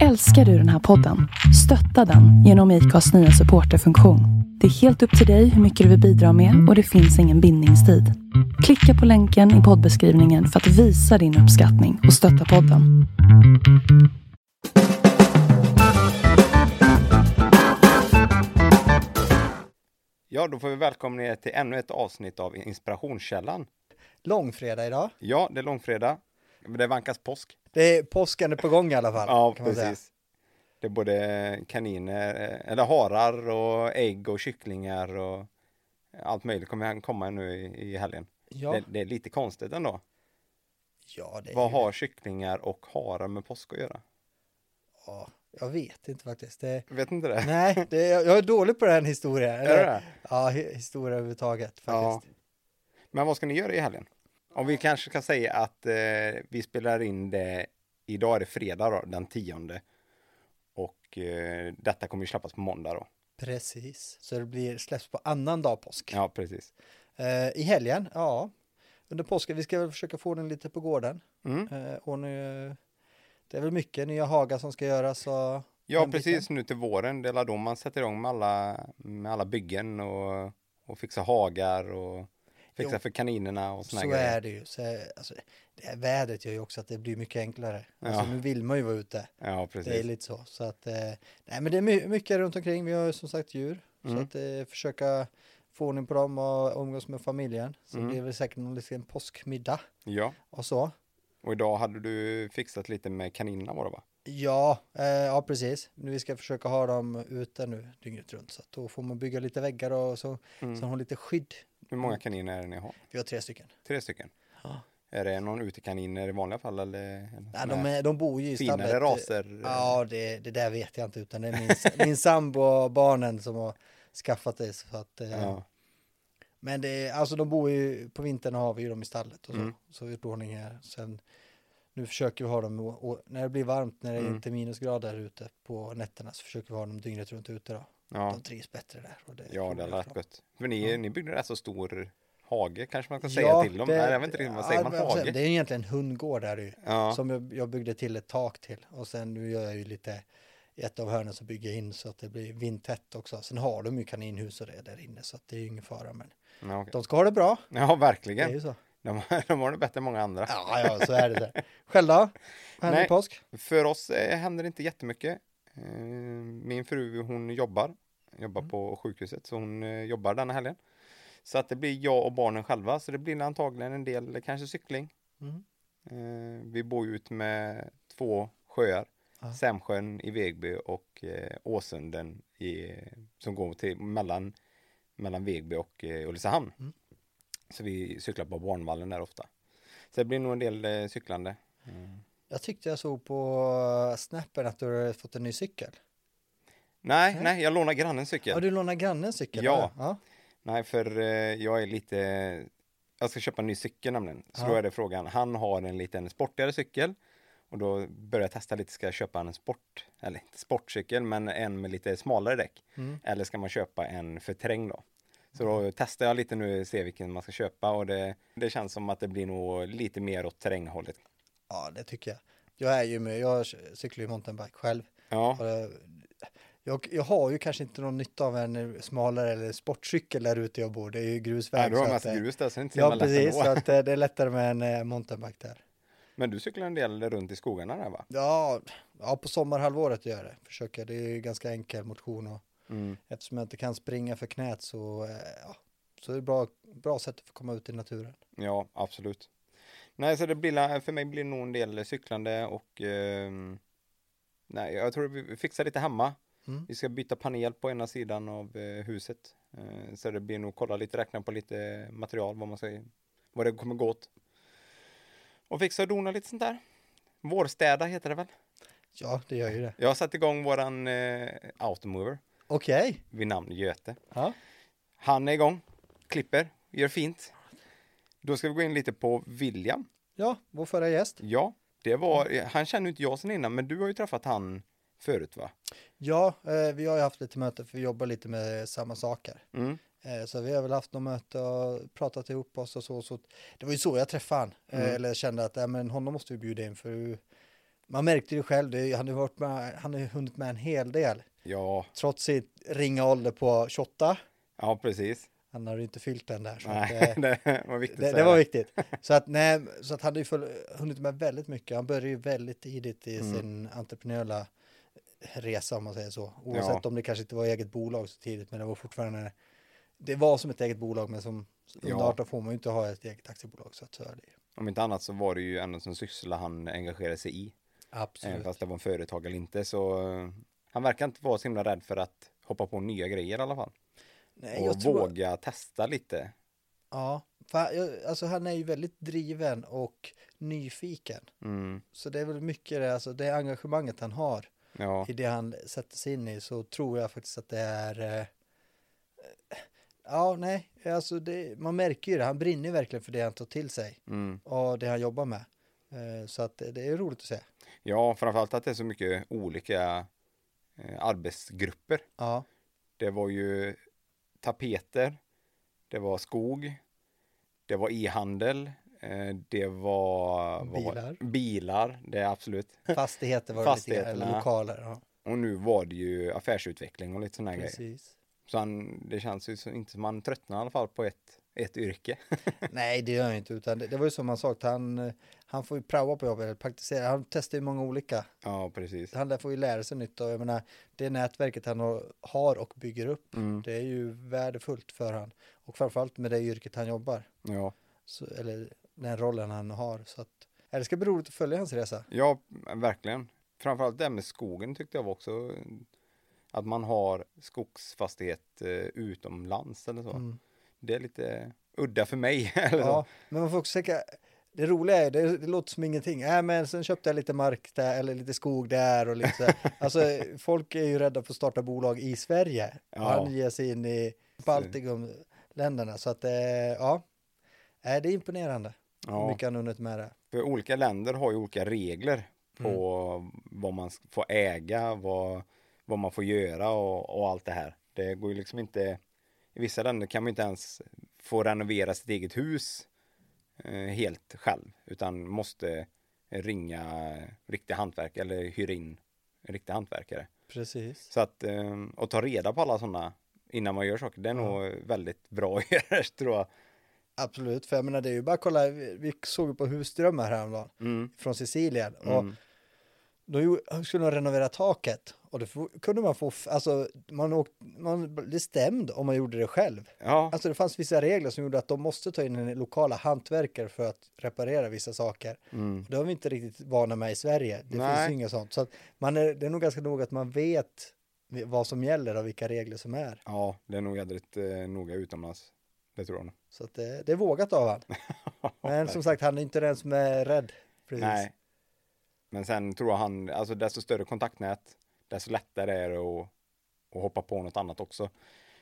Älskar du den här podden? Stötta den genom IKAs nya supporterfunktion. Det är helt upp till dig hur mycket du vill bidra med och det finns ingen bindningstid. Klicka på länken i poddbeskrivningen för att visa din uppskattning och stötta podden. Ja, då får vi välkomna er till ännu ett avsnitt av Inspirationskällan. Långfredag idag. Ja, det är långfredag. men Det vankas påsk. Det är påsken är på gång i alla fall. Ja, kan man säga. precis. Det är både kaniner, eh, eller harar och ägg och kycklingar och allt möjligt kommer komma nu i, i helgen. Ja, Det, det är lite konstigt ändå. ja det är Vad ju... har kycklingar och harar med påsk att göra? ja, Jag vet inte faktiskt. Det... Jag vet inte det. Nej, det... jag jag är dålig på den historien. Är det det? Ja, hi- historia överhuvudtaget Ja. faktiskt. Men vad ska ni göra i helgen? Om vi kanske kan säga att eh, vi spelar in det, idag är det fredag då, den tionde. Och eh, detta kommer ju släppas på måndag då. Precis, så det blir släpps på annan dag påsk. Ja, precis. Eh, I helgen, ja. Under påsken, vi ska väl försöka få den lite på gården. Mm. Eh, och nu, det är väl mycket nya hagar som ska göras och... Ja, den biten. precis nu till våren, det är då man sätter igång med alla, med alla byggen och, och fixar hagar och fixar Jo. för kaninerna och såna Så grejer. är det ju. Så, alltså, det här vädret gör ju också att det blir mycket enklare. Alltså, Ja. nu vill man ju vara ute. Ja, Det är precis. lite så. så att, eh, nej, men det är my- mycket runt omkring. Vi har ju som sagt djur. Mm. Så att eh, försöka få ordning på dem och umgås med familjen. Så Mm. det blir väl säkert någon liten påskmiddag Ja, och så. och idag hade du fixat lite med kaninerna var det va? Ja, eh, ja precis. Nu, vi ska försöka ha dem ute nu dygnet runt. Så att då får man bygga lite väggar och så, Mm. så de har lite skydd. Hur många kaniner är det ni har? Vi har tre stycken. Tre stycken? Är det någon utekaniner i vanliga fall eller? Nej, de, är, de bor ju i finare stallet. raser? Ja, det, det där vet jag inte, utan det är min, min sambo och barnen som har skaffat det. Så att, eh, Ja. Men det, är- alltså de bor ju, på vintern har vi ju dem i stallet och så, Mm. så vi har gjort ordning här. Sen, nu försöker vi ha dem, å- å- när det blir varmt, när det Mm. inte är minusgrader ute på nätterna så försöker vi ha dem dygnet runt ute då. Ja, De trivs bättre där. Och det är ja det hade roligare för varit dem. gött. För ni, ni byggde rätt så stor hage kanske man ska säga till dem? det- Nej, jag vet inte riktigt vad säger ja, man men sen- hage? Det är ju egentligen en hundgård där ju. Ja. Som jag, jag byggde till ett tak till. Och sen nu gör jag ju lite i ett av hörnen så bygger jag in så att det blir vindtätt också. Sen har de ju kaninhus och det där inne så att det är ju ingen fara. Men Ja, okej. de ska ha det bra. ja Det är ju verkligen. så. De, har- de har det bättre än många andra. Ja, ja, så är det. Där. Själv då? Vad händer Nej. i påsk? För oss eh, händer det inte jättemycket. Eh, Min fru hon jobbar, jobbar Mm. på sjukhuset så hon eh, jobbar denna helgen. Så att det blir jag och barnen själva så det blir antagligen en del eh, kanske cykling. Mm. Eh, Vi bor ju ut med två sjöar. Ja. Sämsjön i Vegby och eh, Åsunden i, som går till, mellan, mellan Vegby och eh, Ulricehamn. Mm. Så vi cyklar på barnvallen där ofta. Så det blir nog en del eh, cyklande. Jag tyckte jag såg på snappen att du har fått en ny cykel. Nej, nej, jag lånar grannens cykel. Ja, du lånar grannens cykel? Ja. eller? ja. Nej, för eh, jag är lite... Jag ska köpa en ny cykel nämligen. Så då Ja. är det frågan. Han har en liten sportigare cykel. Och då började jag testa lite. Ska jag köpa en sport... Eller inte sportcykel, men en med lite smalare däck. Mm. Eller ska man köpa en för terräng då? Så då testar jag lite nu och ser vilken man ska köpa. Och det, det känns som att det blir nog lite mer åt terränghållet. ja, det tycker jag. Jag är ju med, jag cyklar ju mountainbike själv. Ja, Och det- Jag, jag har ju kanske inte någon nytta av en smalare eller sportcykel där ute jag bor. Det är ju grusväg. Nej, du har så en att, massa eh, grus där så det är inte så Ja, himla lätt precis. ändå. Så att eh, det är lättare med en eh, mountainbike där. Men du cyklar en del runt i skogarna där va? Ja, ja, på sommarhalvåret gör jag det. Försöker. Det är ju ganska enkel motion och Mm. eftersom jag inte kan springa för knät så, eh, ja, så är det bra, bra sätt att få komma ut i naturen. Ja, absolut. Nej, så det blir, la- för mig blir det nog en del cyklande och ehm, nej, jag tror vi fixar lite hemma. Mm. Vi ska byta panel på ena sidan av eh, huset. Eh, så det blir nog kolla lite, räkna på lite material, vad man säger, vad det kommer gå åt. Och fixa och dona lite sånt där. Vårstäda heter det väl? Ja, det gör ju det. Jag har satt igång våran eh, automover Okej. vid namn Göte. Ja. Han är igång, klipper, gör fint. Då ska vi gå in lite på William. ja, vår förra gäst. Ja, det Mm. var, han känner ju inte jag sen innan, men du har ju träffat han förut va? Ja, eh, vi har ju haft lite möten för vi jobbar lite med samma saker. Mm. Eh, Så vi har väl haft något möte och pratat ihop oss och så. så. Det var ju så jag träffade han. Eh, Eller kände att äh, men honom måste vi bjuda in för Man märkte ju själv, det, han, har ju varit med, han har ju hunnit med en hel del. Ja, Trots sitt ringa ålder på 28. ja precis. Han har ju inte fyllt den där. Så att, Nej, eh, det var viktigt att det, det säga var viktigt. Så att, nej, så att han har ju full, hunnit med väldigt mycket. Han började ju väldigt tidigt i Mm. sin entreprenöriella resa om man säger så. Oavsett Ja. om det kanske inte var eget bolag så tidigt, men det var fortfarande. Det var som ett eget bolag, men som under Ja. 18 får man ju inte ha ett eget aktiebolag. Så att så är det ju. Om inte annat så var det ju ändå som syssla han engagerade sig i. Även Absolut. fast det var en företag eller inte så eh, han verkar inte vara så himla rädd för att hoppa på nya grejer i alla fall. nej, och Eh, jag tror, våga testa lite. Ja, för, jag- alltså han är ju väldigt driven och nyfiken. Mm, Så det är väl mycket det, alltså det engagemanget han har ja, i det han sätter sig in i så tror jag faktiskt att det är eh, eh, ja nej alltså det, man märker ju det han brinner ju verkligen för det han tar till sig mm. och det han jobbar med Eh, så att det- det är roligt att se ja, framförallt att det är så mycket olika eh, arbetsgrupper. ja Det var ju tapeter, det var skog, det var e-handel, eh, det var vad var det? Bilar. bilar, det är absolut. fastigheter var det lite grann, eller Fastigheterna. lokaler ja Och nu var det ju affärsutveckling och lite sådana grejer. precis Så han, det känns ju så, inte som han tröttnar i alla fall på ett, ett yrke. nej det gör jag inte utan det, det var ju som han sa att han eh, han får ju prova på jobbet eller praktisera han testar ju många olika Ja, precis. han lär- får ju lära sig nytt och jag menar det nätverket han har- har och bygger upp Mm, Det är ju värdefullt för han och framförallt med det yrket han jobbar ja. så, eller den rollen han har så att ja, det ska bli roligt att följa hans resa. ja, verkligen. Framförallt det här med skogen tyckte jag var också eh, att man har skogsfastighet eh, utomlands eller så. Mm. Det är lite udda för mig. Eller så. Ja, men man får också tänka det roliga är, det, det låter som ingenting. Äh, men sen köpte jag lite mark där eller lite skog där och lite så här. Alltså folk är ju rädda för att starta bolag i Sverige. Och Ja. han ger sig in i Baltikumländerna så att eh, ja, äh, det är imponerande hur Ja. mycket han hunnit med det. För olika länder har ju olika regler på vad man s- får äga, vad, vad man får göra och, och allt det här. Det går ju liksom inte, i vissa länder kan man inte ens få renovera sitt eget hus eh, helt själv, utan måste ringa riktiga hantverkare eller hyra in riktiga hantverkare. Precis. Så att, eh, och ta reda på alla sådana innan man gör saker, det är nog väldigt bra att göra, tror jag. Absolut, för jag menar det är ju bara att kolla, vi vi såg ju på Husdrömmar häromdagen Mm. från Sicilien och Mm. då gjorde- skulle de renovera taket och då få- kunde man få, f- alltså man, åkt, man blev stämd om man gjorde det själv. Ja, Alltså det fanns vissa regler som gjorde att de måste ta in en lokala hantverkare för att reparera vissa saker. mm. Det har vi inte riktigt vana med i Sverige, det Nej. finns ju inget sånt. Så att man är, det är nog ganska noga att man vet vad som gäller och vilka regler som är. ja det är nog jädrigt eh, noga utomlands. Det tror jag nog. Så att eh, det, det är vågat av han. Men som sagt, han är inte den som är rädd. Precis. Nej. Men sen tror jag han, alltså desto större kontaktnät, desto lättare är det att, att hoppa på något annat också.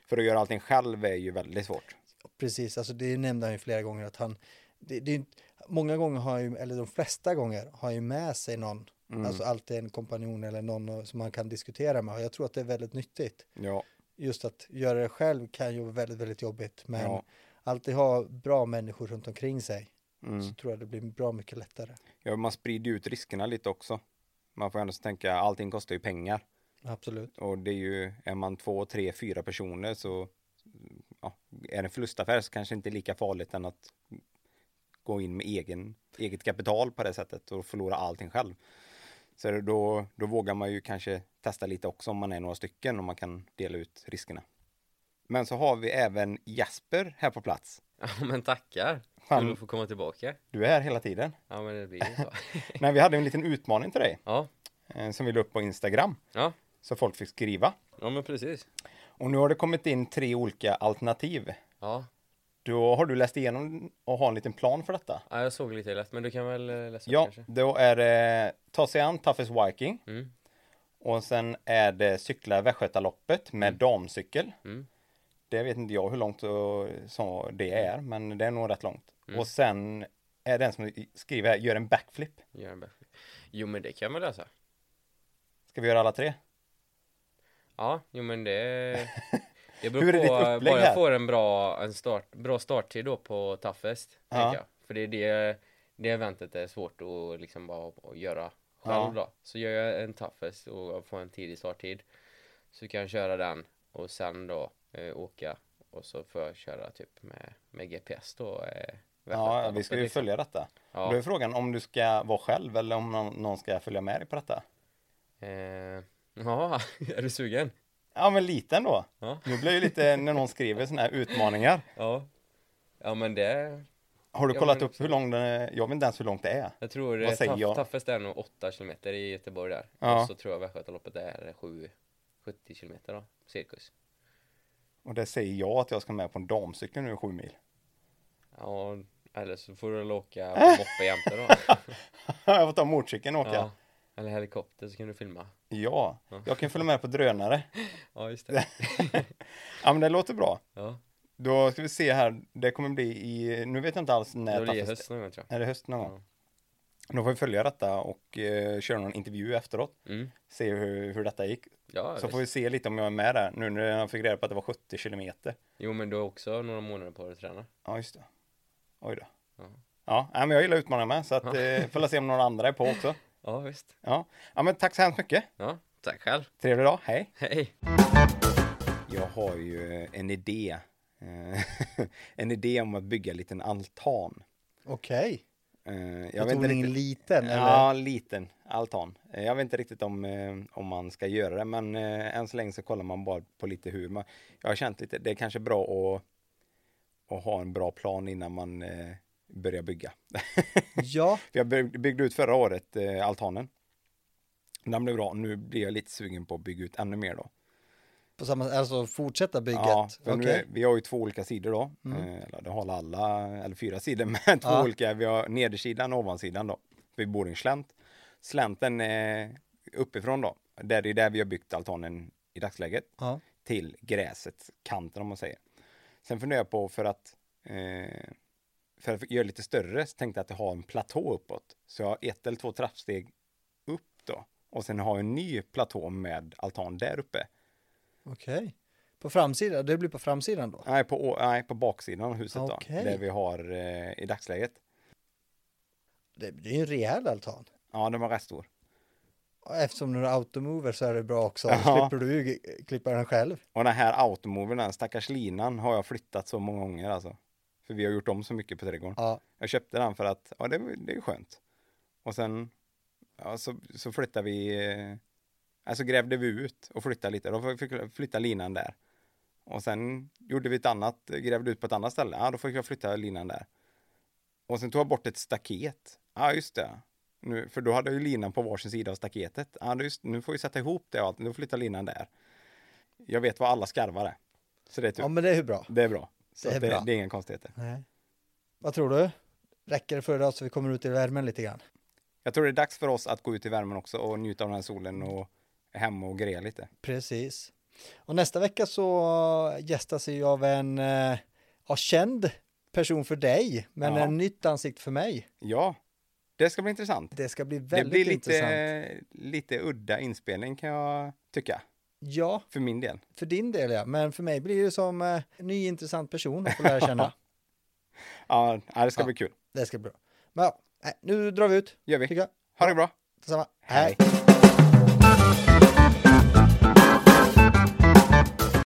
För att göra allting själv är ju väldigt svårt. Precis, alltså det nämnde han ju flera gånger att han, det, det är ju inte, många gånger har han ju, eller de flesta gånger har han ju med sig någon, Mm. alltså alltid en kompanjon eller någon som man kan diskutera med och jag tror att det är väldigt nyttigt. Ja, Just att göra det själv kan ju vara väldigt, väldigt jobbigt, men Ja. alltid ha bra människor runt omkring sig Mm. så tror jag det blir bra mycket lättare. ja man sprider ju ut riskerna lite också. Man får ändå tänka, allting kostar ju pengar. Absolut. Och det är ju, är man två, tre, fyra personer så ja, är det en förlustaffär så kanske inte är lika farligt än att gå in med egen, eget kapital på det sättet och förlora allting själv. Så då, då vågar man ju kanske testa lite också om man är några stycken och man kan dela ut riskerna. Men så har vi även Jasper här på plats. Ja men tackar! Fan. Kul att få komma tillbaka. Du är här hela tiden. Ja men det blir ju så. Nej, vi hade en liten utmaning till dig Ja, eh, som vi la upp på Instagram ja, så folk fick skriva. ja men precis. Och nu har det kommit in tre olika alternativ. Ja, Då har du läst igenom och har en liten plan för detta. ja jag såg lite lätt men du kan väl eh, läsa upp Ja, kanske? då är det ta sig an Toughest Viking Mm. och sen är det cykla Västgötaloppet med damcykel. Mm. Det vet inte jag hur långt eh, som det Mm. är, men det är nog rätt långt. Och sen är det en som skriver här, gör en backflip. Gör en backflip. Jo men det kan man läsa. Ska vi göra alla tre? Ja, jo men det... Det beror Hur är på ditt eh, upplägg bara här? jag får en bra, en start, bra starttid då på Toughest. Ja. tänker Jag. För det är det, det eventet är svårt att liksom bara att göra halv Ja. då. Så gör jag en toughest och får en tidig starttid. Så kan jag köra den och sen då eh, åka och så får jag köra typ med, med GPS då. Eh, Ja, Västgötaloppet vi ska ju liksom. följa detta. Då är Ja. frågan om du ska vara själv eller om någon, någon ska följa med dig på detta. Eh, ja, är du sugen? Ja, men lite ändå. Ja. Nu blir jag ju lite när någon skriver sådana här utmaningar. Ja. Ja men det, Har du Ja, kollat men upp hur lång den är? Jag vet inte ens hur långt det är. jag tror Vad eh, säger taff, jag? taffest är nog 8 kilometer i Göteborg där. Ja. Och så tror jag Västgötaloppet är 7, 70 kilometer då, cirkus. Och det säger jag att jag ska med på en damcykel nu i sju mil. Ja, eller så får du väl åka på moppe jämte då. jag får ta motorcykeln och åka. Ja. Ja. Eller helikopter så kan du filma. Ja. jag kan följa med på drönare. Ja, just det. Ja, men det låter bra. Ja, Då ska vi se här. Det kommer bli i, nu vet jag inte alls när det blir i taffest- höst någon gång tror jag. Är det höst någon gång? Ja. Då får vi följa detta och eh, köra någon intervju efteråt. Mm. Se hur, hur detta gick. Ja, Så visst. får vi se lite om jag är med där. Nu när jag fick reda på att det var 70 kilometer. Jo, men du har också några månader på dig att träna. Ja, just det. Oj då. Ja. Ja, nej, men jag gillar utmaningar med. Så att, eh, får se om några andra är på också. Ja, visst. Ja, ja men tack så hemskt mycket. Ja, tack själv. Trevlig dag. Hej. Hej. Jag har ju en idé. Eh, en idé om att bygga en liten altan. Okej, Eh, Jag vet inte betoningen riktigt. liten eller? Ja, liten altan. Eh, Jag vet inte riktigt om, eh, om man ska göra det, men eh, än så länge så kollar man bara på lite hur man... Jag har känt lite, det är kanske bra att, att ha en bra plan innan man eh, börjar bygga. Ja, För jag bygg- byggde ut förra året, eh, altanen. Den blev bra, nu blir jag lite sugen på att bygga ut ännu mer då. på samma alltså fortsätta bygget. Ja, för nu, är- Okej. Mm. vi har ju två olika sidor då. Eh, Eller det har alla, eller fyra sidor, men två Ja. olika. Vi har nedersidan och ovansidan då. Vi bor i en slänt. Slänten eh, uppifrån då, där det är där vi har byggt altanen i dagsläget, Ja. till gräset, kanten om man säger. Sen funderar jag på för att eh, för att göra det lite större så tänkte jag att jag har en platå uppåt. Så jag har ett eller två trappsteg upp då. Och sen har jag en ny platå med altan där uppe. Okej. På framsidan, det blir på framsidan då? Nej, på, å- nej, på baksidan av huset Okej. då, där vi har eh, i dagsläget. Det, det är ju en rejäl altan. Ja, den var rätt stor. Och Eftersom du har automover så är det bra också. Ja. slipper du ju g- klippa den själv. Och den här automovern, den stackars linan, har jag flyttat så många gånger alltså. För vi har gjort om så mycket på trädgården. Ja, Jag köpte den för att, ja det, var- det är ju skönt. Och sen, ja, så, så flyttade vi, eh, alltså grävde vi ut och flyttade lite. Då fick jag flytta linan där. Och sen gjorde vi ett annat, grävde ut på ett annat ställe. Ja, då fick jag flytta linan där. Och sen tog jag bort ett staket. Ja, just det. Nu, för då hade jag ju linan på varsin sida av staketet. Ja, det är just, nu får vi sätta ihop det och allt. Nu flyttar linan där. Jag vet var alla skarvar är. Så det är, tur. ja men det är ju bra. det är bra. Så Det det är är, det, bra. det är inga konstigheter. Nej. Vad tror du? Räcker det för idag så vi kommer ut i värmen lite grann? Jag tror det är dags för oss att gå ut i värmen också och njuta av den här solen och hem och greja lite. Precis. Och nästa vecka så gästas jag av en eh, ja, känd person för dig, men Ja. en nytt ansikte för mig. Ja, det ska bli intressant. Det ska bli Det väldigt blir intressant. lite, lite udda inspelning kan jag tycka, Ja, för min del. för din del ja, men för mig blir det som eh, en ny intressant person att få lära känna. Ja, ja, det ska Ja. bli kul. det ska bli bra. Men ja, nej, nu drar vi ut. Gör vi. Tycker jag. Ha det bra. Detsamma. Hej. Hej.